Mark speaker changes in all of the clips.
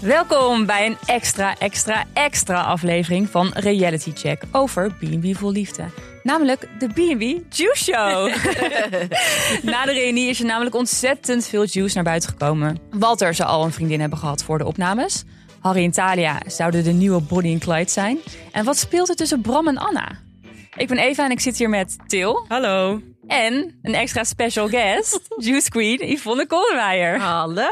Speaker 1: Welkom bij een extra, extra, extra aflevering van Reality Check over B&B Vol Liefde. Namelijk de B&B Juice Show. Na de reunie is er namelijk ontzettend veel juice naar buiten gekomen. Walter zou al een vriendin hebben gehad voor de opnames. Harry en Talia zouden de nieuwe Bonnie en Clyde zijn. En wat speelt er tussen Bram en Anna? Ik ben Eva en ik zit hier met Til
Speaker 2: Hallo.
Speaker 1: en een extra special guest, Juice Queen Yvonne Kolmeijer.
Speaker 2: Ah. Hallo.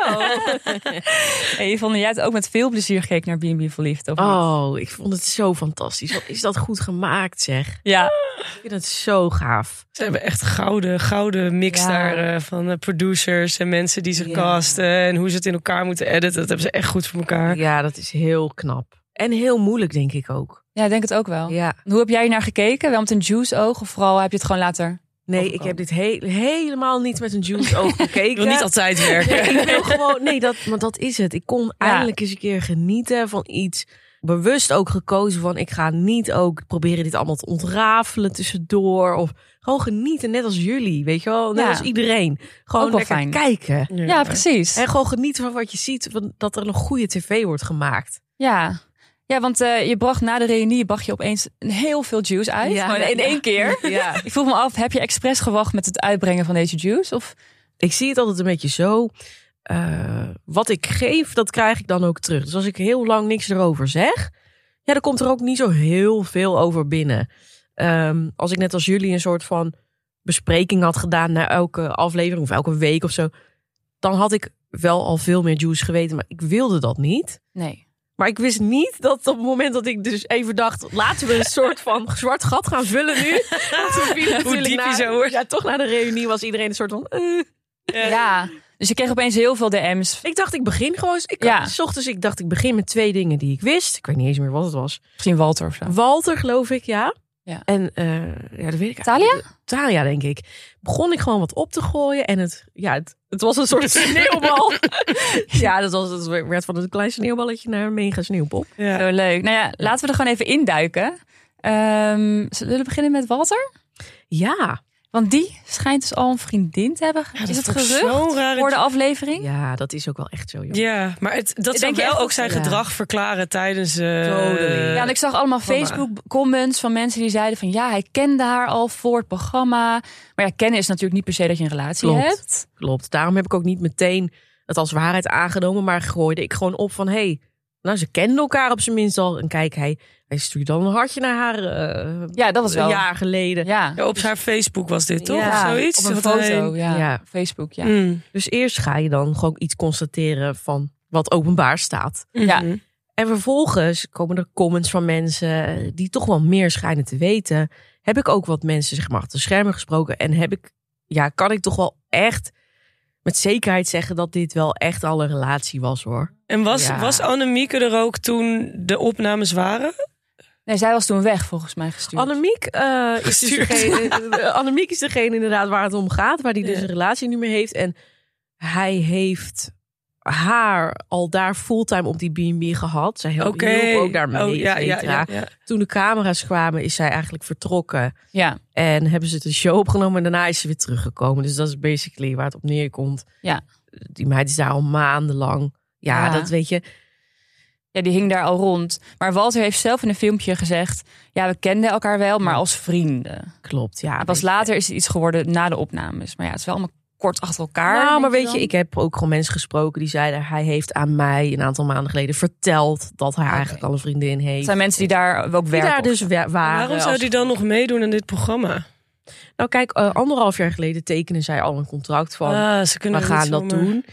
Speaker 1: Hey Yvonne, jij hebt ook met veel plezier gekeken naar B&B voor Liefde, of niet?
Speaker 2: Oh, ik vond het zo fantastisch. Wat is dat goed gemaakt, zeg.
Speaker 1: Ja,
Speaker 2: Ik vind het zo gaaf.
Speaker 3: Ze hebben echt gouden, gouden mix
Speaker 1: Ja.
Speaker 3: daar eh, van eh, producers en mensen die ze
Speaker 2: Ja.
Speaker 3: casten en hoe ze het in elkaar moeten editen. Dat hebben ze echt goed voor elkaar.
Speaker 2: Ja, dat is heel knap. En heel moeilijk, denk ik ook.
Speaker 1: ja ik denk het ook wel.
Speaker 2: Ja.
Speaker 1: Hoe heb jij hier naar gekeken? Wel met een juice oog of vooral heb je het gewoon later?
Speaker 2: Nee, ik heb dit he- helemaal niet met een juice oog
Speaker 3: Ik
Speaker 2: bekeken.
Speaker 3: wil niet altijd werken.
Speaker 2: Nee, ik wil gewoon... Nee, dat, maar dat is het. Ik kon eindelijk eens een keer genieten van iets... Bewust ook gekozen van ik ga niet ook proberen dit allemaal te ontrafelen tussendoor. Of gewoon genieten, net als jullie, weet je wel. Net
Speaker 1: Ja.
Speaker 2: als iedereen. Gewoon
Speaker 1: Ook wel
Speaker 2: lekker
Speaker 1: fijn.
Speaker 2: kijken.
Speaker 1: Ja, precies.
Speaker 2: En gewoon genieten van wat je ziet, van dat er nog goede tv wordt gemaakt.
Speaker 1: Ja. Ja, want eh, je bracht na de reunie bracht je opeens een heel veel juice uit.
Speaker 2: Ja,
Speaker 1: Gewoon in
Speaker 2: ja.
Speaker 1: één keer.
Speaker 2: Ja.
Speaker 1: Ik vroeg me af, heb je expres gewacht met het uitbrengen van deze juice? Of
Speaker 2: Ik zie het altijd een beetje zo. eh, wat ik geef, dat krijg ik dan ook terug. Dus als ik heel lang niks erover zeg, ja, dan komt er ook niet zo heel veel over binnen. Ehm, als ik net als jullie een soort van bespreking had gedaan na elke aflevering of elke week of zo, dan had ik wel al veel meer juice geweten, maar ik wilde dat niet.
Speaker 1: nee?
Speaker 2: Maar ik wist niet dat op het moment dat ik dus even dacht... laten we een soort van zwart gat gaan vullen nu. Want we vielen natuurlijk
Speaker 3: diep je
Speaker 2: na-
Speaker 3: zo wordt.
Speaker 2: Ja, toch na de reunie was iedereen een soort van... eh.
Speaker 1: Ja. Dus je kreeg opeens heel veel DM's.
Speaker 2: Ik dacht, ik begin gewoon... eens- Ik,
Speaker 1: Ja.
Speaker 2: s ochtends, ik dacht, ik begin met twee dingen die ik wist. Ik weet niet eens meer wat het was.
Speaker 1: Misschien Walter of zo.
Speaker 2: Walter, geloof ik, ja.
Speaker 1: Ja.
Speaker 2: En eh, ja, dat weet ik
Speaker 1: Talia?
Speaker 2: eigenlijk- Talia, denk ik. Begon ik gewoon wat op te gooien. En het, ja, het, het was een soort sneeuwbal. ja, dat was, het werd van een klein sneeuwballetje naar een mega sneeuwpop.
Speaker 3: Ja.
Speaker 1: Zo leuk. Nou ja, laten we er gewoon even induiken. Ehm zullen we beginnen met Walter?
Speaker 2: Ja.
Speaker 1: Want die schijnt dus al een vriendin te hebben.
Speaker 3: dat
Speaker 1: is het
Speaker 3: vond ik
Speaker 1: gerucht
Speaker 3: zo'n rare
Speaker 1: voor de aflevering?
Speaker 2: Ja, dat is ook wel echt zo, joh.
Speaker 3: Ja, maar het, dat
Speaker 1: Denk
Speaker 3: zou
Speaker 1: je echt
Speaker 3: wel
Speaker 1: dat-
Speaker 3: ook zijn
Speaker 2: Ja.
Speaker 3: gedrag verklaren tijdens... eh,
Speaker 2: Totally.
Speaker 1: Ja, want ik zag allemaal
Speaker 3: programma.
Speaker 1: Facebook-comments van mensen die zeiden van... ja, hij kende haar al voor het programma. Maar ja, kennen is natuurlijk niet per se dat je een relatie
Speaker 2: Klopt.
Speaker 1: hebt.
Speaker 2: Klopt. Daarom heb ik ook niet meteen het als waarheid aangenomen, maar gooide ik gewoon op van hé, hey, nou ze kenden elkaar op zijn minst al. En kijk, hij, hij stuurde dan een hartje naar haar eh,
Speaker 1: Ja, dat was wel...
Speaker 2: een jaar geleden.
Speaker 1: ja.
Speaker 3: Ja, op haar Facebook was dit, toch?
Speaker 2: Ja,
Speaker 3: Of zoiets?
Speaker 1: op een
Speaker 3: Of hij-
Speaker 1: foto, ja.
Speaker 2: Ja.
Speaker 1: Facebook, ja.
Speaker 3: Mm.
Speaker 2: Dus eerst ga je dan gewoon iets constateren van wat openbaar staat.
Speaker 1: Ja.
Speaker 3: Mhm.
Speaker 2: En vervolgens komen er comments van mensen die toch wel meer schijnen te weten. Heb ik ook wat mensen zeg maar achter de schermen gesproken en heb ik, ja, kan ik toch wel echt met zekerheid zeggen dat dit wel echt al een relatie was hoor.
Speaker 3: En was,
Speaker 2: Ja.
Speaker 3: was Annemieke er ook toen de opnames waren?
Speaker 1: Nee, zij was toen weg, volgens mij, gestuurd.
Speaker 2: Annemiek, eh, is dus
Speaker 3: Gestuurd.
Speaker 2: degene, eh, Annemiek is degene inderdaad waar het om gaat, waar die dus
Speaker 3: Ja.
Speaker 2: een relatie nu mee heeft. En hij heeft haar al daar fulltime op die B&B gehad. Zij hielp,
Speaker 3: Oké.
Speaker 2: hielp ook daarmee,
Speaker 3: Oh, ja, ja,
Speaker 2: etcetera.
Speaker 3: ja, ja.
Speaker 2: Toen de camera's kwamen, is zij eigenlijk vertrokken.
Speaker 1: Ja,
Speaker 2: En hebben ze de show opgenomen en daarna is ze weer teruggekomen. Dus dat is basically waar het op neerkomt.
Speaker 1: Ja.
Speaker 2: Die meid is daar al maandenlang. Ja,
Speaker 1: Ja.
Speaker 2: dat weet je.
Speaker 1: ja, die hing daar al rond. Maar Walter heeft zelf in een filmpje gezegd... ja, we kenden elkaar wel, maar als vrienden.
Speaker 2: Klopt, ja.
Speaker 1: Pas later is het iets geworden na de opnames. Maar ja, het is wel allemaal kort achter elkaar.
Speaker 2: nou, maar
Speaker 1: denk
Speaker 2: weet je,
Speaker 1: dan?
Speaker 2: ik heb ook gewoon mensen gesproken die zeiden... hij heeft aan mij een aantal maanden geleden verteld... dat hij eigenlijk al een vriendin
Speaker 1: Het
Speaker 2: heeft.
Speaker 1: zijn mensen die daar ook werken.
Speaker 2: die daar
Speaker 1: of
Speaker 2: dus
Speaker 1: zo.
Speaker 2: wa- waren.
Speaker 3: Waarom
Speaker 2: als-
Speaker 3: zou die dan nog meedoen aan dit programma?
Speaker 2: Nou kijk, eh, anderhalf jaar geleden tekenen zij al een contract van...
Speaker 3: Ah, ze kunnen
Speaker 2: we
Speaker 3: niet
Speaker 2: gaan dat
Speaker 3: zomaar-
Speaker 2: doen.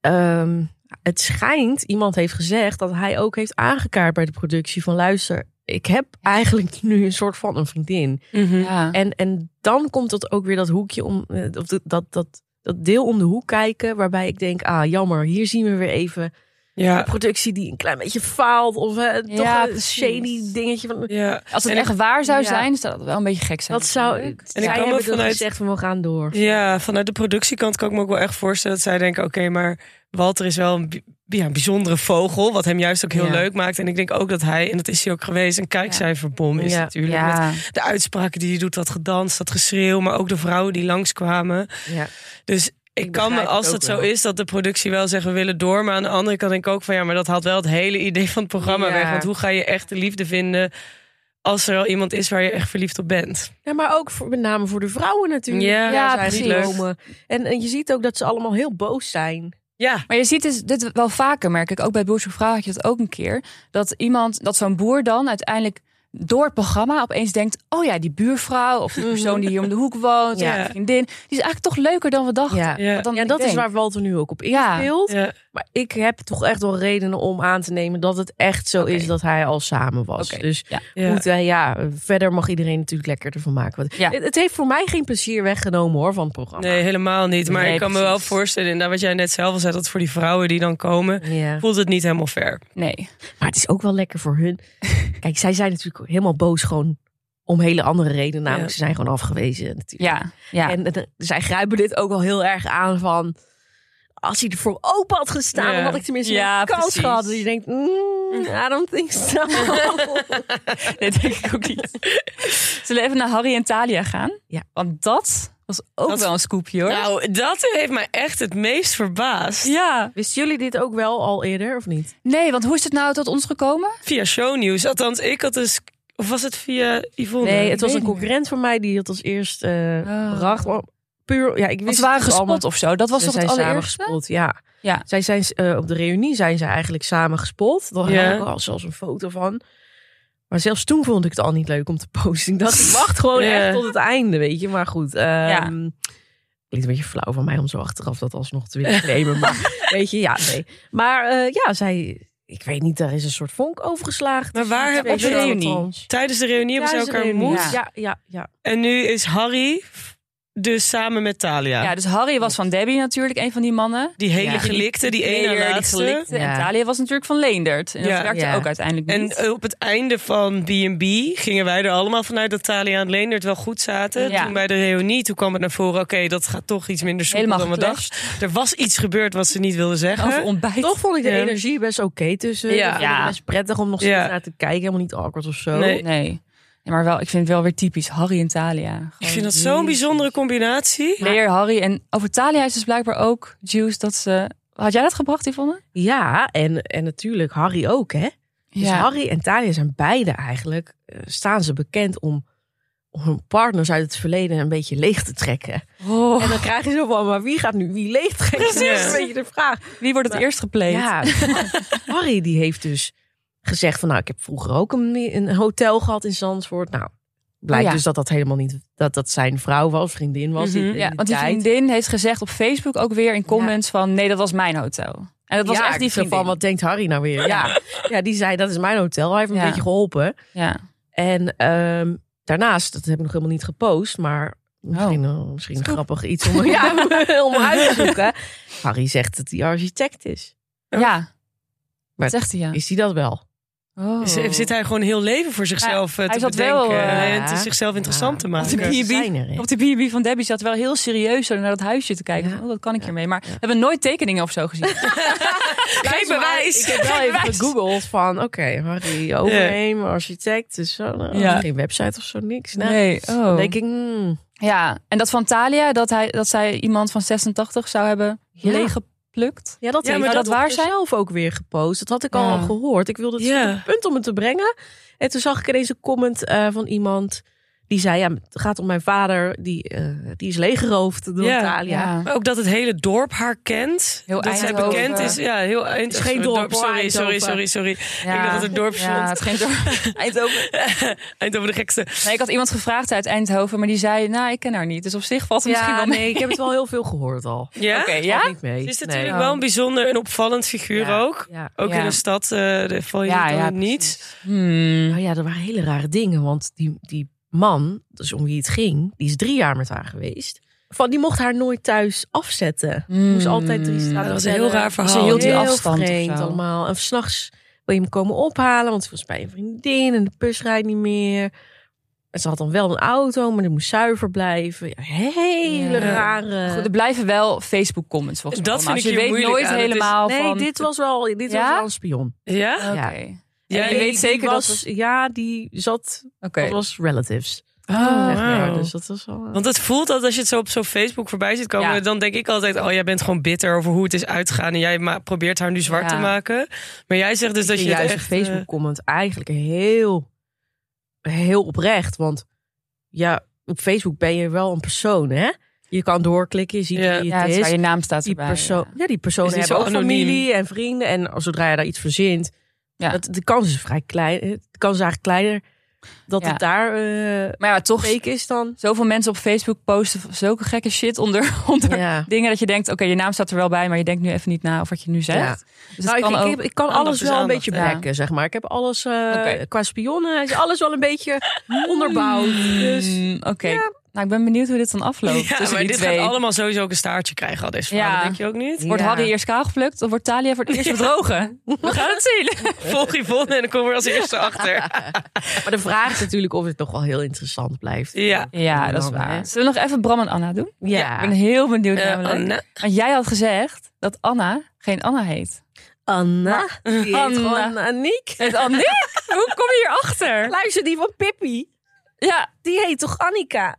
Speaker 2: Ehm, het schijnt, iemand heeft gezegd... dat hij ook heeft aangekaart bij de productie van... luister, ik heb eigenlijk nu een soort van een vriendin.
Speaker 3: Mhm.
Speaker 1: Ja.
Speaker 2: En, en dan komt dat ook weer dat hoekje om... eh, of dat, dat, dat, dat deel om de hoek kijken... waarbij ik denk, ah jammer, hier zien we weer even...
Speaker 3: Ja,
Speaker 2: een productie die een klein beetje faalt. Of eh,
Speaker 1: Ja,
Speaker 2: toch een
Speaker 1: precies.
Speaker 2: shady dingetje. Van,
Speaker 3: ja.
Speaker 1: Als het
Speaker 3: En ik-
Speaker 1: echt waar zou
Speaker 2: Ja.
Speaker 1: zijn, zou dat wel een beetje gek zijn.
Speaker 2: dat zou...
Speaker 1: natuurlijk.
Speaker 2: zij
Speaker 3: kwam ook
Speaker 2: hebben toen
Speaker 3: vanuit-
Speaker 2: gezegd van we gaan door.
Speaker 3: Ja, vanuit de productiekant kan ik me ook wel echt voorstellen dat zij denken: oké, maar Walter is wel een b- ja, bijzondere vogel. Wat hem juist ook heel
Speaker 2: Ja.
Speaker 3: leuk maakt. En ik denk ook dat hij, en dat is hij ook geweest, een kijkcijferbom is
Speaker 2: Ja.
Speaker 3: natuurlijk. Met de uitspraken die hij doet, dat gedans, dat geschreeuw. Maar ook de vrouwen die langskwamen.
Speaker 2: Ja.
Speaker 3: Dus ik,
Speaker 2: Ik
Speaker 3: kan me,
Speaker 2: begrijp het
Speaker 3: als
Speaker 2: ook
Speaker 3: het zo
Speaker 2: wel.
Speaker 3: is, dat de productie wel zeggen we willen door. Maar aan de andere kant denk ik ook van ja, maar dat haalt wel het hele idee van het programma
Speaker 2: Ja.
Speaker 3: weg. Want hoe ga je echt de liefde vinden als er al iemand is waar je echt verliefd op bent?
Speaker 2: Ja, maar ook voor, met name voor de vrouwen natuurlijk.
Speaker 3: Ja,
Speaker 1: Ja,
Speaker 2: zij
Speaker 1: precies.
Speaker 2: gekomen. En, en je ziet ook dat ze allemaal heel boos zijn.
Speaker 3: Ja,
Speaker 1: Maar je ziet dus dit wel vaker, merk ik. Ook bij Boerzoek Vrouw had je dat ook een keer. Dat iemand, dat zo'n boer dan uiteindelijk door het programma opeens denkt... oh ja, die buurvrouw of die persoon die hier om de hoek woont...
Speaker 2: Ja.
Speaker 1: ja. vriendin, die is eigenlijk toch leuker dan we dachten.
Speaker 2: Ja.
Speaker 3: ja.
Speaker 1: Wat dan
Speaker 2: Ja,
Speaker 1: ik
Speaker 2: dat is
Speaker 1: denk.
Speaker 2: waar Walter nu ook op
Speaker 1: Ja.
Speaker 2: inspeelt.
Speaker 3: ja.
Speaker 2: Maar ik heb toch echt wel redenen om aan te nemen dat het echt zo
Speaker 1: Oké.
Speaker 2: is dat hij al samen was.
Speaker 1: Oké.
Speaker 2: Dus
Speaker 1: Ja.
Speaker 3: ja.
Speaker 2: Moet, eh, ja, verder mag iedereen natuurlijk lekker ervan maken. Want
Speaker 1: Ja.
Speaker 2: het, het heeft voor mij geen plezier weggenomen hoor van het programma.
Speaker 3: Nee, helemaal niet. Maar
Speaker 1: Nee,
Speaker 3: ik kan me wel
Speaker 1: precies.
Speaker 3: voorstellen, inderdaad, wat jij net zelf al zei, dat voor die vrouwen die dan komen,
Speaker 2: Ja.
Speaker 3: voelt het niet helemaal fair.
Speaker 1: Nee.
Speaker 2: Maar het is ook wel lekker voor hun. Kijk, zij zijn natuurlijk ook helemaal boos gewoon om hele andere redenen. Namelijk,
Speaker 3: Ja.
Speaker 2: ze zijn gewoon afgewezen natuurlijk.
Speaker 1: Ja, ja.
Speaker 2: En eh, zij grijpen dit ook wel heel erg aan van... Als hij er voor open had gestaan,
Speaker 3: Ja.
Speaker 2: dan had ik tenminste
Speaker 1: Ja,
Speaker 2: een kans
Speaker 1: precies.
Speaker 2: gehad. Dus je denkt, mm, I don't think so.
Speaker 1: Nee, denk ik ook niet. Zullen we even naar Harry en Thalia gaan?
Speaker 2: Ja.
Speaker 1: Want dat was ook
Speaker 3: Dat-
Speaker 1: wel een scoopje, hoor.
Speaker 3: Nou, dat heeft mij echt het meest verbaasd.
Speaker 1: Ja.
Speaker 2: Wisten jullie dit ook wel al eerder, of niet?
Speaker 1: Nee, want hoe is het nou tot ons gekomen?
Speaker 3: Via shownieuws. Althans, ik had dus. Of was het via Yvonne?
Speaker 2: Nee, het
Speaker 1: weet
Speaker 2: was een
Speaker 1: het niet
Speaker 2: concurrent van mij die het als eerst eh bracht. Maar Puur, ja, ik
Speaker 1: Want
Speaker 2: wist
Speaker 1: ze waren
Speaker 2: het
Speaker 1: gespot
Speaker 2: allemaal.
Speaker 1: of zo. Dat was
Speaker 2: Ze
Speaker 1: toch
Speaker 2: zijn
Speaker 1: het
Speaker 2: Dus samen
Speaker 1: allereerste?
Speaker 2: gespot, ja.
Speaker 1: Ja.
Speaker 2: Zij zijn, eh, op de reunie zijn ze eigenlijk samen gespot. Daar
Speaker 3: Ja.
Speaker 2: had ik al zelfs een foto van. Maar zelfs toen vond ik het al niet leuk om te posten. Ik dacht, ik wacht gewoon
Speaker 3: Ja.
Speaker 2: echt tot het einde, weet je. Maar goed, ja. Klinkt een beetje flauw van mij om zo achteraf dat alsnog te willen claimen. Maar weet je, ja, nee. Maar eh, ja, zij... Ik weet niet, daar is een soort vonk overgeslagen.
Speaker 3: Maar waar hebben
Speaker 2: Weet
Speaker 1: ze
Speaker 2: je wel,
Speaker 1: reunie?
Speaker 2: althans.
Speaker 3: Tijdens de reunie hebben ze
Speaker 2: Tijdens de
Speaker 3: elkaar
Speaker 2: reunie,
Speaker 3: ontmoet.
Speaker 1: moed.
Speaker 2: Ja, ja, ja.
Speaker 3: En nu is Harry dus samen met Talia.
Speaker 1: Ja, dus Harry was van Debbie natuurlijk, een van die mannen.
Speaker 3: die hele
Speaker 2: Ja.
Speaker 3: gelikte, die
Speaker 1: Leer,
Speaker 3: ene
Speaker 1: die
Speaker 3: laatste.
Speaker 1: gelikte.
Speaker 2: Ja.
Speaker 1: En Thalia was natuurlijk van Leendert. En dat
Speaker 3: Ja.
Speaker 1: werkte
Speaker 2: Ja.
Speaker 1: ook uiteindelijk
Speaker 3: En
Speaker 1: niet.
Speaker 3: eh, op het einde van B&B gingen wij er allemaal vanuit dat Talia en Leendert wel goed zaten.
Speaker 1: Ja.
Speaker 3: Toen bij de reunie, toen kwam het naar voren, oké, dat gaat toch iets minder soepel
Speaker 1: Helemaal Oh.
Speaker 3: dan we dachten. Er was iets gebeurd wat ze niet wilden
Speaker 1: Over
Speaker 3: zeggen.
Speaker 1: ontbijt.
Speaker 2: Toch vond ik de
Speaker 3: Ja.
Speaker 2: energie best oké tussen.
Speaker 3: Ja.
Speaker 2: Ja. Ik vond
Speaker 1: Ja.
Speaker 2: het best prettig om nog steeds
Speaker 3: Ja.
Speaker 2: naar te kijken. Helemaal niet awkward of zo.
Speaker 3: Nee.
Speaker 1: Nee. Ja, maar wel, ik vind het wel weer typisch. Harry en Thalia. Gewoon
Speaker 3: Ik vind dat zo'n bijzondere combinatie.
Speaker 1: Leer, Harry. En over Thalia is dus blijkbaar ook Juice dat ze... Had jij dat gebracht, Yvonne?
Speaker 2: Ja, en, en natuurlijk Harry ook, hè? Dus Harry en Thalia zijn beide eigenlijk... eh, staan ze bekend om, om hun partners uit het verleden een beetje leeg te trekken.
Speaker 1: Oh,
Speaker 2: En dan krijg je zo van, maar wie gaat nu wie leeg trekken? Dat is
Speaker 3: Precies.
Speaker 2: een beetje de vraag.
Speaker 1: wie wordt het eerst gepleegd?
Speaker 2: Ja, Harry die heeft dus gezegd van... nou, ik heb vroeger ook een, een hotel gehad in Zandvoort. Nou, blijkt
Speaker 1: Oh ja.
Speaker 2: dus dat dat helemaal niet... dat dat zijn vrouw was, vriendin was. die-
Speaker 3: Mhm.
Speaker 2: in
Speaker 1: Ja,
Speaker 2: die
Speaker 1: want die
Speaker 2: tijd.
Speaker 1: vriendin heeft gezegd op Facebook ook weer in comments van... Nee, dat was mijn hotel. En dat was
Speaker 2: ja,
Speaker 1: echt die
Speaker 2: ik zei
Speaker 1: vriendin.
Speaker 2: van wat denkt Harry nou weer? Ja, ja die zei dat is mijn hotel. Hij heeft me
Speaker 1: Ja.
Speaker 2: een beetje geholpen.
Speaker 1: Ja.
Speaker 2: En ehm, daarnaast, dat heb ik nog helemaal niet gepost, maar misschien, eh, misschien een grappig iets om, ja, om uit te zoeken. Harry zegt dat hij architect is.
Speaker 1: Ja.
Speaker 2: Maar-
Speaker 1: dat zegt hij ja.
Speaker 2: Is hij dat wel?
Speaker 1: Oh.
Speaker 3: Z- Zit hij gewoon heel leven voor zichzelf eh, te
Speaker 1: hij zat
Speaker 3: bedenken.
Speaker 1: wel, eh,
Speaker 3: en het is zichzelf interessant
Speaker 2: Ja.
Speaker 3: te
Speaker 1: Want
Speaker 3: maken.
Speaker 1: die-
Speaker 2: Ze zijn er, hè?
Speaker 1: Op de B&B van Debbie zat wel heel serieus zo naar dat huisje te kijken.
Speaker 2: Ja.
Speaker 1: Van, oh, wat kan ik
Speaker 2: Ja.
Speaker 1: hiermee? Maar
Speaker 2: Ja.
Speaker 1: we hebben nooit tekeningen of zo gezien. Geen
Speaker 2: Ik heb wel
Speaker 1: Geen
Speaker 2: even
Speaker 1: bewijs.
Speaker 2: gegoogeld van, oké, Harry Overheem, architect, dus zo, nou,
Speaker 1: Ja.
Speaker 2: geen website of zo, niks. Nou,
Speaker 1: Nee,
Speaker 2: Dan
Speaker 1: oh.
Speaker 2: denk ik, hmm,
Speaker 1: Ja, en dat van Thalia, dat, hij, dat zij iemand van 86 zou hebben
Speaker 2: Ja.
Speaker 1: leeggeplukt.
Speaker 2: Ja, dat heeft
Speaker 3: Ja, maar
Speaker 2: maar
Speaker 1: dat
Speaker 2: dat
Speaker 1: waar
Speaker 2: waar
Speaker 1: zijn?
Speaker 2: zelf ook weer gepost. Dat had ik
Speaker 1: Ja.
Speaker 2: al gehoord. Ik wilde het
Speaker 3: Ja.
Speaker 2: stond op het punt om het te brengen. En toen zag ik ineens een comment eh, van iemand die zei: ja, Het gaat om mijn vader, die, eh, die is leeggeroofd door
Speaker 3: Ja.
Speaker 2: Italië.
Speaker 3: Maar ook dat het hele dorp haar kent.
Speaker 1: Heel
Speaker 3: dat zij
Speaker 1: Eindhoven.
Speaker 3: bekend is. Ja, heel Eindhoven.
Speaker 2: is geen dorp, hoor,
Speaker 3: Sorry, sorry,
Speaker 2: Eindhoven.
Speaker 3: sorry, sorry.
Speaker 1: Ja.
Speaker 3: Ik dacht dat het dorp
Speaker 1: Ja,
Speaker 3: stond.
Speaker 1: het ging door Eindhoven.
Speaker 3: Eindhoven de gekste.
Speaker 1: Nee, ik had iemand gevraagd uit Eindhoven, maar die zei, nou, ik ken haar niet. Dus op zich valt het misschien wel mee.
Speaker 2: nee, ik heb het wel heel veel gehoord al.
Speaker 3: Ja?
Speaker 1: Oké,
Speaker 2: Valt
Speaker 1: ja?
Speaker 2: niet mee.
Speaker 3: Het is
Speaker 2: Nee.
Speaker 3: natuurlijk wel een bijzonder en opvallend figuur
Speaker 2: Ja.
Speaker 3: ook.
Speaker 2: Ja.
Speaker 3: Ook
Speaker 1: Ja.
Speaker 3: in een stad eh daar val je
Speaker 1: Ja,
Speaker 3: dan
Speaker 1: ja,
Speaker 3: niet.
Speaker 1: Hmm.
Speaker 2: Nou ja, er waren hele rare dingen. Want die, die man, dus om wie het ging, die is drie jaar met haar geweest. Van, die mocht haar nooit thuis afzetten. Moest
Speaker 1: Hmm.
Speaker 2: altijd drie straten
Speaker 3: Dat was een
Speaker 2: verder.
Speaker 3: heel raar verhaal.
Speaker 2: Ze hield die
Speaker 1: Heel
Speaker 2: afstand
Speaker 1: vreemd
Speaker 2: vreemd allemaal. En s'nachts wil je hem komen ophalen, want ze was bij een vriendin en de bus rijdt niet meer. En ze had dan wel een auto, maar die moest zuiver blijven. Ja, hele
Speaker 1: Ja.
Speaker 2: rare...
Speaker 1: Goed, er blijven wel Facebook comments volgens mij.
Speaker 3: Dat
Speaker 1: allemaal.
Speaker 3: vind
Speaker 1: Dus
Speaker 3: ik
Speaker 1: je
Speaker 3: hier
Speaker 1: weet
Speaker 3: moeilijk
Speaker 1: nooit
Speaker 3: aan. Het is-
Speaker 1: helemaal
Speaker 2: nee,
Speaker 1: van...
Speaker 2: dit was wel, dit
Speaker 1: Ja?
Speaker 2: was wel een spion.
Speaker 3: Ja?
Speaker 1: Oké.
Speaker 2: Ja.
Speaker 1: Eh, En
Speaker 3: Jij-
Speaker 1: je weet
Speaker 2: Die
Speaker 1: zeker
Speaker 2: was,
Speaker 1: dat...
Speaker 2: Ja, die zat...
Speaker 1: Oké.
Speaker 2: Dat was relatives.
Speaker 1: Oh,
Speaker 2: Echt waar,
Speaker 3: wauw.
Speaker 2: Dus dat was wel...
Speaker 3: Want het voelt dat als je het zo op zo'n Facebook voorbij ziet komen,
Speaker 1: Ja.
Speaker 3: dan denk ik altijd: oh, jij bent gewoon bitter over hoe het is uitgegaan. En jij ma- probeert haar nu zwart
Speaker 1: Ja.
Speaker 3: te maken. Maar jij zegt dus dat
Speaker 2: ik
Speaker 3: je
Speaker 2: vind
Speaker 3: het
Speaker 2: juist
Speaker 3: echt,
Speaker 2: een
Speaker 3: eh,
Speaker 2: Facebook-comment eigenlijk heel, heel oprecht. Want ja, op Facebook ben je wel een persoon, hè? Je kan doorklikken, je ziet
Speaker 3: Ja.
Speaker 2: wie
Speaker 1: Ja,
Speaker 2: het
Speaker 1: het is waar
Speaker 2: is.
Speaker 1: je naam staat
Speaker 2: Die
Speaker 1: erbij.
Speaker 2: persoon, ja. die personen
Speaker 3: Is niet
Speaker 2: hebben ook
Speaker 3: zo anoniem.
Speaker 2: familie en vrienden. En zodra je daar iets verzint,
Speaker 1: Ja.
Speaker 2: dat, de kans is vrij klein. De kans is eigenlijk kleiner dat
Speaker 1: Ja.
Speaker 2: het daar eh
Speaker 1: Maar ja, toch...
Speaker 2: fake is dan.
Speaker 1: Zoveel mensen op Facebook posten zulke gekke shit onder, onder
Speaker 2: Ja.
Speaker 1: dingen dat je denkt, oké, je naam staat er wel bij, maar je denkt nu even niet na over wat je nu zegt.
Speaker 2: Ja.
Speaker 1: Dus
Speaker 2: Nou, ik,
Speaker 1: het kan
Speaker 2: ik,
Speaker 1: ook...
Speaker 2: heb- ik kan
Speaker 3: Aandacht
Speaker 2: alles
Speaker 3: is
Speaker 2: wel een
Speaker 3: aandacht,
Speaker 2: beetje
Speaker 1: ja.
Speaker 2: backen, zeg maar. Ik heb alles eh,
Speaker 1: Oké.
Speaker 2: qua spionnen, is alles wel een beetje onderbouwd. Dus
Speaker 1: Mm, Oké. Nou, ik ben benieuwd hoe dit dan afloopt
Speaker 3: Ja,
Speaker 1: tussen
Speaker 3: maar
Speaker 1: die
Speaker 3: dit
Speaker 1: twee.
Speaker 3: gaat allemaal sowieso ook een staartje krijgen al deze
Speaker 1: Ja.
Speaker 3: verhalen, denk je ook niet?
Speaker 1: Wordt
Speaker 2: Ja.
Speaker 1: Hadden eerst kaal geplukt of wordt Talia voor het eerst bedrogen? We gaan het zien.
Speaker 3: Volg Yvonne en dan komen we als eerste achter.
Speaker 2: Maar de vraag is natuurlijk of het nog wel heel interessant blijft.
Speaker 3: Ja.
Speaker 1: Ja, dat is
Speaker 2: Belangrijk.
Speaker 1: waar. Zullen we nog even Bram en Anna doen?
Speaker 2: Ja.
Speaker 1: Ik ben heel benieuwd
Speaker 3: Eh,
Speaker 1: namelijk.
Speaker 3: Anna.
Speaker 1: Want jij had gezegd dat Anna geen Anna heet.
Speaker 2: Anna. Die heet
Speaker 1: Anna.
Speaker 2: gewoon Aniek.
Speaker 1: Het Annie? Hoe kom je hierachter?
Speaker 2: Luister, die van Pippi.
Speaker 1: Ja.
Speaker 2: Die heet toch Annika?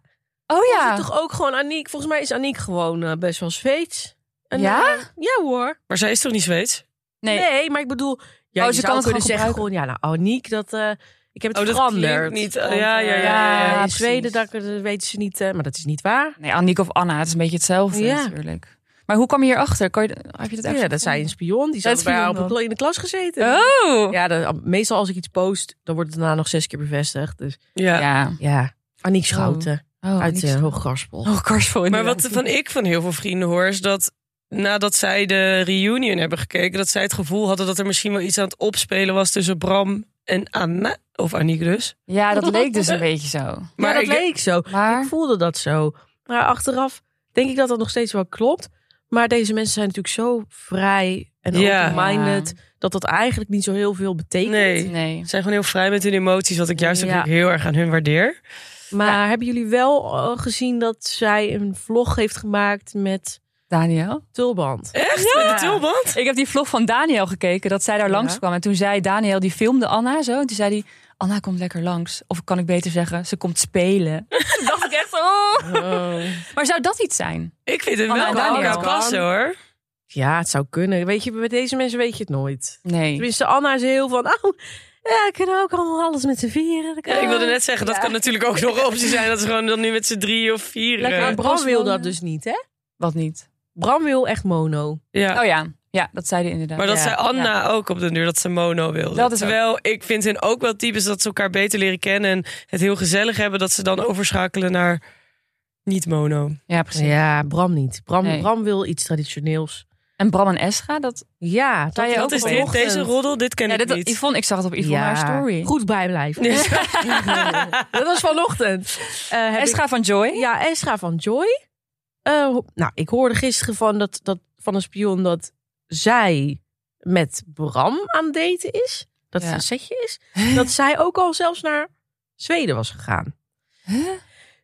Speaker 1: Oh
Speaker 2: Ja.
Speaker 1: ja.
Speaker 2: Is het toch ook gewoon Aniek? Volgens mij is Aniek gewoon eh, best wel Zweeds. En,
Speaker 1: Ja?
Speaker 2: eh, ja hoor.
Speaker 3: Maar zij is toch niet Zweeds?
Speaker 1: Nee.
Speaker 2: Nee, maar ik bedoel... Ja,
Speaker 1: Oh,
Speaker 2: je
Speaker 1: ze
Speaker 2: zou
Speaker 1: kan het
Speaker 2: kunnen
Speaker 1: gewoon
Speaker 2: zeggen gewoon... Ja, nou, Aniek, dat... eh, ik heb het
Speaker 3: Oh, dat
Speaker 2: veranderd.
Speaker 3: klinkt niet-
Speaker 2: Want,
Speaker 3: ja, ja, ja,
Speaker 2: eh,
Speaker 1: ja, ja,
Speaker 2: in
Speaker 1: precies.
Speaker 2: Zweden dat, dat weten ze niet... eh, maar dat is niet waar.
Speaker 1: Nee, Anniek of Anna, het is een beetje hetzelfde
Speaker 2: Ja.
Speaker 1: natuurlijk. Maar hoe kwam je hierachter? Kan je, heb je dat echt
Speaker 2: Ja, dat zij een spion. Die zat bij
Speaker 1: spion
Speaker 2: haar op een
Speaker 1: dan.
Speaker 2: kla- in de klas gezeten.
Speaker 1: Oh!
Speaker 2: Ja, dat- meestal als ik iets post, dan wordt het daarna nog zes keer bevestigd. Dus
Speaker 3: Ja.
Speaker 1: Ja.
Speaker 2: Ja, Aniek Schouten
Speaker 1: Oh,
Speaker 2: uit
Speaker 1: niks.
Speaker 2: eh, Hooggarspel.
Speaker 1: Oh, Karsvel
Speaker 3: Maar
Speaker 1: inderdaad.
Speaker 3: wat van ik van heel veel vrienden hoor, is dat nadat zij de reunion hebben gekeken, dat zij het gevoel hadden dat er misschien wel iets aan het opspelen was tussen Bram en Anna. Of Aniek dus.
Speaker 1: Ja, dat leek dus een beetje zo.
Speaker 2: Maar dat
Speaker 3: ik-
Speaker 2: leek zo.
Speaker 1: Maar...
Speaker 2: Ik voelde dat zo. Maar achteraf denk ik dat dat nog steeds wel klopt. Maar deze mensen zijn natuurlijk zo vrij en
Speaker 3: Ja.
Speaker 2: open-minded... dat dat eigenlijk niet zo heel veel betekent.
Speaker 3: Nee.
Speaker 1: Nee.
Speaker 3: Ze zijn gewoon heel vrij met hun emoties, wat ik juist
Speaker 2: Ja.
Speaker 3: natuurlijk heel erg aan hun waardeer.
Speaker 2: Maar hebben jullie wel eh, gezien dat zij een vlog heeft gemaakt met
Speaker 1: Daniel?
Speaker 2: Tulband?
Speaker 3: Echt? Ja. Met de tulband?
Speaker 1: Ik heb die vlog van Daniel gekeken, dat zij daar
Speaker 2: Ja.
Speaker 1: langskwam. En toen zei Daniel, die filmde Anna zo. En toen zei hij, Anna komt lekker langs. Of kan ik beter zeggen, ze komt spelen. toen dacht ik echt, oh. Maar zou dat iets zijn?
Speaker 3: Ik vind het
Speaker 1: Anna
Speaker 3: wel
Speaker 1: en
Speaker 3: bij
Speaker 1: Daniel.
Speaker 3: elkaar passen hoor.
Speaker 2: Ja, het zou kunnen. Weet je, met deze mensen weet je het nooit.
Speaker 1: Nee.
Speaker 2: Tenminste, Anna is heel van... Oh, ja, ik kan ook allemaal alles met z'n vieren. Dat kan
Speaker 3: Ja, ik wilde
Speaker 2: ook."
Speaker 3: net zeggen, dat
Speaker 2: Ja.
Speaker 3: kan natuurlijk ook nog een optie zijn. Dat ze gewoon dan nu met z'n drie of vier.
Speaker 2: Lekker,
Speaker 3: eh,
Speaker 2: maar Bram wil dat
Speaker 1: Paswoorden.
Speaker 2: dus niet, hè?
Speaker 1: Wat niet?
Speaker 2: Bram wil echt mono.
Speaker 3: ja.
Speaker 1: Oh ja, ja dat zei hij inderdaad.
Speaker 3: Maar dat
Speaker 2: Ja,
Speaker 3: zei Anna ook op de duur, dat ze mono wilde.
Speaker 1: Dat is ook-
Speaker 3: Terwijl ik vind hen ook wel typisch dat ze elkaar beter leren kennen... en het heel gezellig hebben dat ze dan overschakelen naar niet mono.
Speaker 1: Ja, precies.
Speaker 2: Ja, Bram niet. Bram,
Speaker 1: Nee.
Speaker 2: Bram wil iets traditioneels.
Speaker 1: En Bram en Esra, dat...
Speaker 2: Ja,
Speaker 1: Zou je
Speaker 2: had
Speaker 1: ook
Speaker 3: Wat
Speaker 2: ik
Speaker 3: is dit?
Speaker 2: vanochtend.
Speaker 3: Deze roddel? Dit ken
Speaker 1: Ja,
Speaker 3: ik
Speaker 1: dit,
Speaker 3: niet.
Speaker 1: Yvonne, ik zag het op Yvonne haar story.
Speaker 2: Goed bijblijven.
Speaker 3: Nee.
Speaker 2: dat was vanochtend. Eh, heb
Speaker 1: Esra van Joy.
Speaker 2: ik- ja, Esra van Joy. Eh, ho- nou, ik hoorde gisteren van, dat, dat, van een spion dat zij met Bram aan het daten is. Dat het
Speaker 1: Ja.
Speaker 2: een setje is. Dat zij ook al zelfs naar Zweden was gegaan.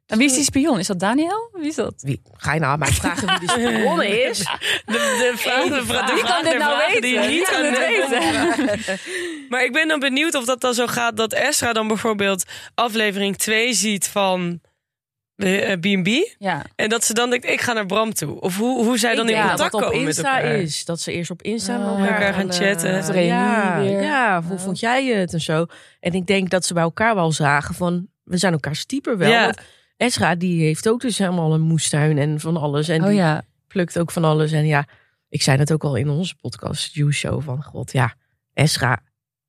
Speaker 1: En wie is die spion? Is dat Daniel? Wie is dat?
Speaker 2: Wie, ga je nou aan mij vragen wie die spion is?
Speaker 3: De, de vraag, de vraag, de
Speaker 1: Wie
Speaker 3: vraag
Speaker 1: kan dit
Speaker 3: der
Speaker 1: nou weten?
Speaker 3: vragen die je niet
Speaker 1: Wie kan
Speaker 3: aan
Speaker 1: dit
Speaker 3: de-
Speaker 1: weten?
Speaker 3: Maar ik ben dan benieuwd of dat dan zo gaat dat Esra dan bijvoorbeeld aflevering 2 ziet van eh, eh, B&B.
Speaker 1: Ja.
Speaker 3: En dat ze dan denkt, ik ga naar Bram toe. Of hoe, hoe zij
Speaker 1: Ik
Speaker 3: dan in
Speaker 1: denk
Speaker 2: Ja,
Speaker 1: dat
Speaker 3: contact
Speaker 2: wat op
Speaker 3: komen
Speaker 2: Insta
Speaker 3: met elkaar.
Speaker 2: is. Dat ze eerst op Insta met
Speaker 1: Ah,
Speaker 2: elkaar,
Speaker 3: elkaar gaan
Speaker 2: eh,
Speaker 3: chatten.
Speaker 1: Of reunie
Speaker 2: ja,
Speaker 1: weer.
Speaker 2: ja, hoe
Speaker 1: Ja.
Speaker 2: vond jij het en zo. En ik denk dat ze bij elkaar wel zagen van... We zijn elkaar stieper wel.
Speaker 3: Ja.
Speaker 2: Want Esra die heeft ook dus helemaal een moestuin en van alles. En
Speaker 1: Oh
Speaker 2: die
Speaker 1: ja.
Speaker 2: plukt ook van alles. En ja, ik zei dat ook al in onze podcast, You Show. Van god, ja, Esra.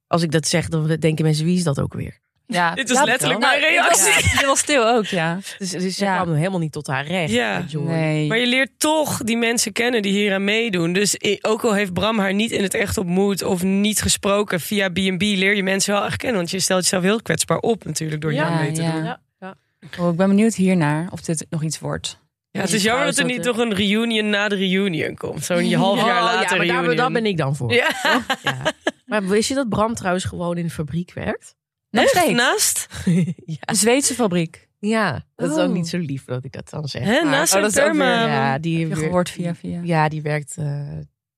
Speaker 2: Als ik dat zeg, dan denken mensen, wie is dat ook weer?
Speaker 1: ja.
Speaker 3: Dit was
Speaker 1: Ja,
Speaker 3: letterlijk
Speaker 1: nou,
Speaker 3: mijn reactie.
Speaker 1: Ja, die was stil ook, ja.
Speaker 2: Dus, dus ze
Speaker 1: Ja.
Speaker 2: kwam helemaal niet tot haar recht.
Speaker 3: Ja.
Speaker 2: met Joy.
Speaker 1: Nee.
Speaker 3: Maar je leert toch die mensen kennen die hier aan meedoen. Dus i- ook al heeft Bram haar niet in het echt ontmoet of niet gesproken via B&B, leer je mensen wel echt kennen. Want je stelt jezelf heel kwetsbaar op natuurlijk door je
Speaker 2: Ja,
Speaker 3: aan mee te
Speaker 1: ja.
Speaker 3: doen.
Speaker 2: Ja, ja.
Speaker 1: Oh, ik ben benieuwd hiernaar of dit nog iets wordt.
Speaker 3: Ja, het is jammer dat er niet toch een reunion na de reunion komt. Zo'n half jaar
Speaker 2: Oh,
Speaker 3: later
Speaker 2: ja, maar daar,
Speaker 3: reunion.
Speaker 2: daar ben ik dan voor.
Speaker 3: Ja.
Speaker 2: Ja. Maar wist je dat Bram trouwens gewoon in de fabriek werkt?
Speaker 1: Nog
Speaker 3: Echt? Nou.
Speaker 1: steeds.
Speaker 3: Naast?
Speaker 2: ja.
Speaker 1: Een Zweedse fabriek.
Speaker 2: ja, dat is ook
Speaker 1: Oh.
Speaker 2: niet zo lief dat ik dat dan zeg.
Speaker 3: Hè,
Speaker 2: maar-
Speaker 3: naast
Speaker 1: oh,
Speaker 3: zijn
Speaker 1: dat is ook weer-
Speaker 3: Therma.
Speaker 2: ja, die
Speaker 1: Heb je
Speaker 2: weer-
Speaker 1: gehoord via via.
Speaker 2: Ja, die werkt, eh,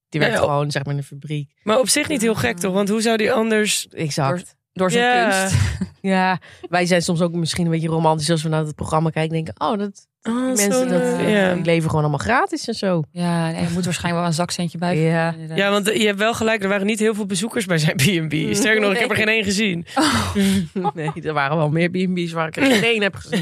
Speaker 2: die werkt
Speaker 3: Ja, ja.
Speaker 2: gewoon zeg maar in de fabriek.
Speaker 3: Maar op zich niet heel gek toch? Want hoe zou die anders...
Speaker 2: Exact.
Speaker 1: Door zijn
Speaker 3: Ja.
Speaker 1: kunst.
Speaker 2: Ja, wij zijn soms ook misschien een beetje romantisch als we naar het programma kijken. Denken, oh, dat
Speaker 3: Oh,
Speaker 2: mensen
Speaker 3: zo'n,
Speaker 2: dat,
Speaker 3: eh,
Speaker 2: eh,
Speaker 3: ja.
Speaker 2: die leven gewoon allemaal gratis en zo.
Speaker 1: Ja, nee, je moet waarschijnlijk wel een zakcentje bij.
Speaker 2: Ja.
Speaker 1: verdienen, inderdaad.
Speaker 3: Ja, want eh, je hebt wel gelijk, er waren niet heel veel bezoekers bij zijn B&B. Sterker nog, ik heb er geen één gezien.
Speaker 2: Nee, er waren wel meer B&B's waar ik er geen één heb gezien.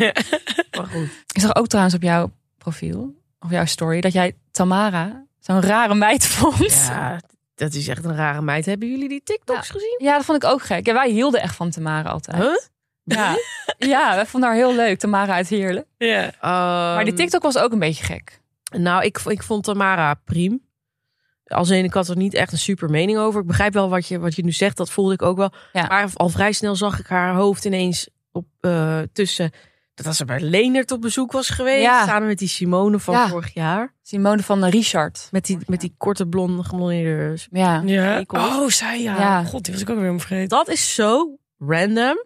Speaker 2: Maar goed.
Speaker 1: Ik zag ook trouwens op jouw profiel, of jouw story, dat jij Tamara zo'n rare meid vond. Ja.
Speaker 2: Ja, dat is echt een rare meid. Hebben jullie die TikToks gezien?
Speaker 1: dat vond ik ook gek. Ja, wij hielden echt van Tamara altijd.
Speaker 2: Huh?
Speaker 1: Ja. ja, wij vonden haar heel leuk, Tamara uit Heerlen.
Speaker 3: Ja.
Speaker 2: Ehm,
Speaker 3: Ehm.
Speaker 1: Maar die TikTok was ook een beetje gek.
Speaker 2: Nou, ik, ik vond Tamara prima. Als in, ik had er niet echt een super mening over. Ik begrijp wel wat je, wat je nu zegt, dat voelde ik ook wel.
Speaker 1: Ja.
Speaker 2: Maar al vrij snel zag ik haar hoofd ineens op, eh, tussen... Dat als ze bij Leendert op bezoek was geweest.
Speaker 1: Ja.
Speaker 2: Samen met die Simone van
Speaker 1: Ja.
Speaker 2: vorig jaar.
Speaker 1: Simone van de Richard.
Speaker 2: Met die, met die korte blonde geblondeerde...
Speaker 1: Ja.
Speaker 3: ja.
Speaker 2: Ik hoor-
Speaker 3: Oh, zij ja.
Speaker 1: Ja.
Speaker 3: God, die was ik ook weer helemaal vergeten.
Speaker 2: Dat is zo random.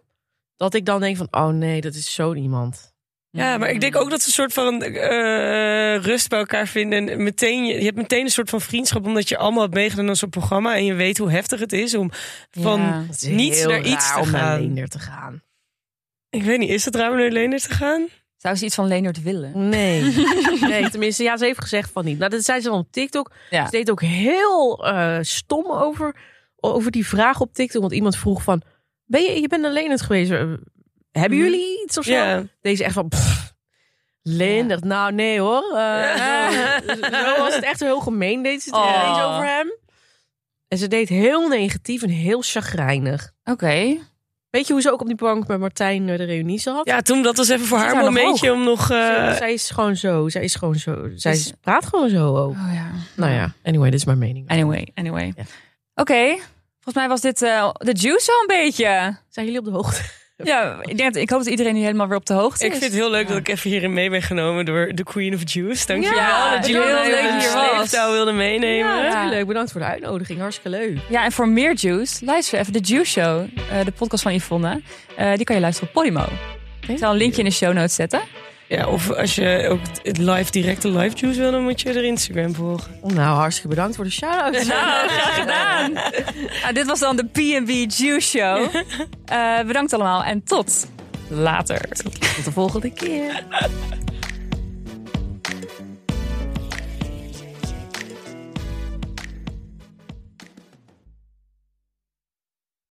Speaker 2: Dat ik dan denk van, oh nee, dat is zo iemand.
Speaker 3: Ja, maar ik denk ook dat ze een soort van eh, rust bij elkaar vinden. En meteen, je hebt meteen een soort van vriendschap, omdat je allemaal hebt meegedaan aan zo'n programma. En je weet hoe heftig het is om van,
Speaker 1: Ja.
Speaker 2: Het is
Speaker 3: Niets
Speaker 2: heel
Speaker 3: naar iets
Speaker 2: raar
Speaker 3: te
Speaker 2: om naar
Speaker 3: gaan.
Speaker 2: Leendert te gaan.
Speaker 3: ik weet niet, is het ruim naar Lener te gaan?
Speaker 1: Zou ze iets van Leonard willen?
Speaker 3: Mm.
Speaker 2: Nee. nee, tenminste, ja, ze heeft gezegd van niet. Nou, dat zei ze dan op TikTok.
Speaker 1: Ja.
Speaker 2: Ze deed ook heel eh, stom over, over die vraag op TikTok. Want iemand vroeg van, ben je, je bent alleen het geweest. eh, Hebben
Speaker 3: Mhm.
Speaker 2: jullie iets of zo?
Speaker 3: Ja.
Speaker 2: Deze echt van, pff, Leendert, nou nee hoor. eh, zo- zo was het echt heel gemeen, deed ze het
Speaker 1: Oh.
Speaker 2: ineens over hem. En ze deed heel negatief en heel chagrijnig.
Speaker 1: Oké.
Speaker 2: Weet je hoe ze ook op die bank met Martijn eh, de reunie zat?
Speaker 3: Ja, toen, dat was even voor
Speaker 2: Ze
Speaker 3: haar
Speaker 2: zijn nog
Speaker 3: momentje om nog... eh,
Speaker 2: Ze- zij is gewoon zo, zij is gewoon zo, zij
Speaker 1: Is-
Speaker 2: praat gewoon zo ook.
Speaker 1: Oh ja.
Speaker 2: Nou ja, anyway, dit is mijn mening.
Speaker 1: Anyway, anyway.
Speaker 2: Ja.
Speaker 1: Oké. Volgens mij was dit eh, de juice wel een beetje.
Speaker 2: Zijn jullie op de hoogte?
Speaker 1: Ja, ik, denk, dat- ik hoop dat iedereen nu helemaal weer op de hoogte
Speaker 3: ik
Speaker 1: is.
Speaker 3: vind het heel leuk
Speaker 1: Ja.
Speaker 3: dat ik even hierin mee ben genomen door de Queen of Juice. Dankjewel
Speaker 1: Ja,
Speaker 3: dat jullie
Speaker 1: heel
Speaker 3: mij
Speaker 1: leuk
Speaker 3: op
Speaker 1: dat je
Speaker 3: een
Speaker 1: hier was.
Speaker 3: sleeptouw wilden meenemen.
Speaker 2: Ja, natuurlijk. Bedankt voor de uitnodiging. Hartstikke leuk.
Speaker 1: Ja, en voor meer juice, luister even de Juice Show, eh, de podcast van Yvonne. Eh, die kan je luisteren op Podimo. Ik zal een linkje in de show notes zetten.
Speaker 3: Ja, of als je ook het live, directe live juice wil, dan moet je er Instagram volgen.
Speaker 2: Nou, hartstikke bedankt voor de shout-out.
Speaker 1: Nou, graag gedaan. Nou, dit was dan de P&B Juice Show. Eh, bedankt allemaal en tot later.
Speaker 2: Tot de volgende keer.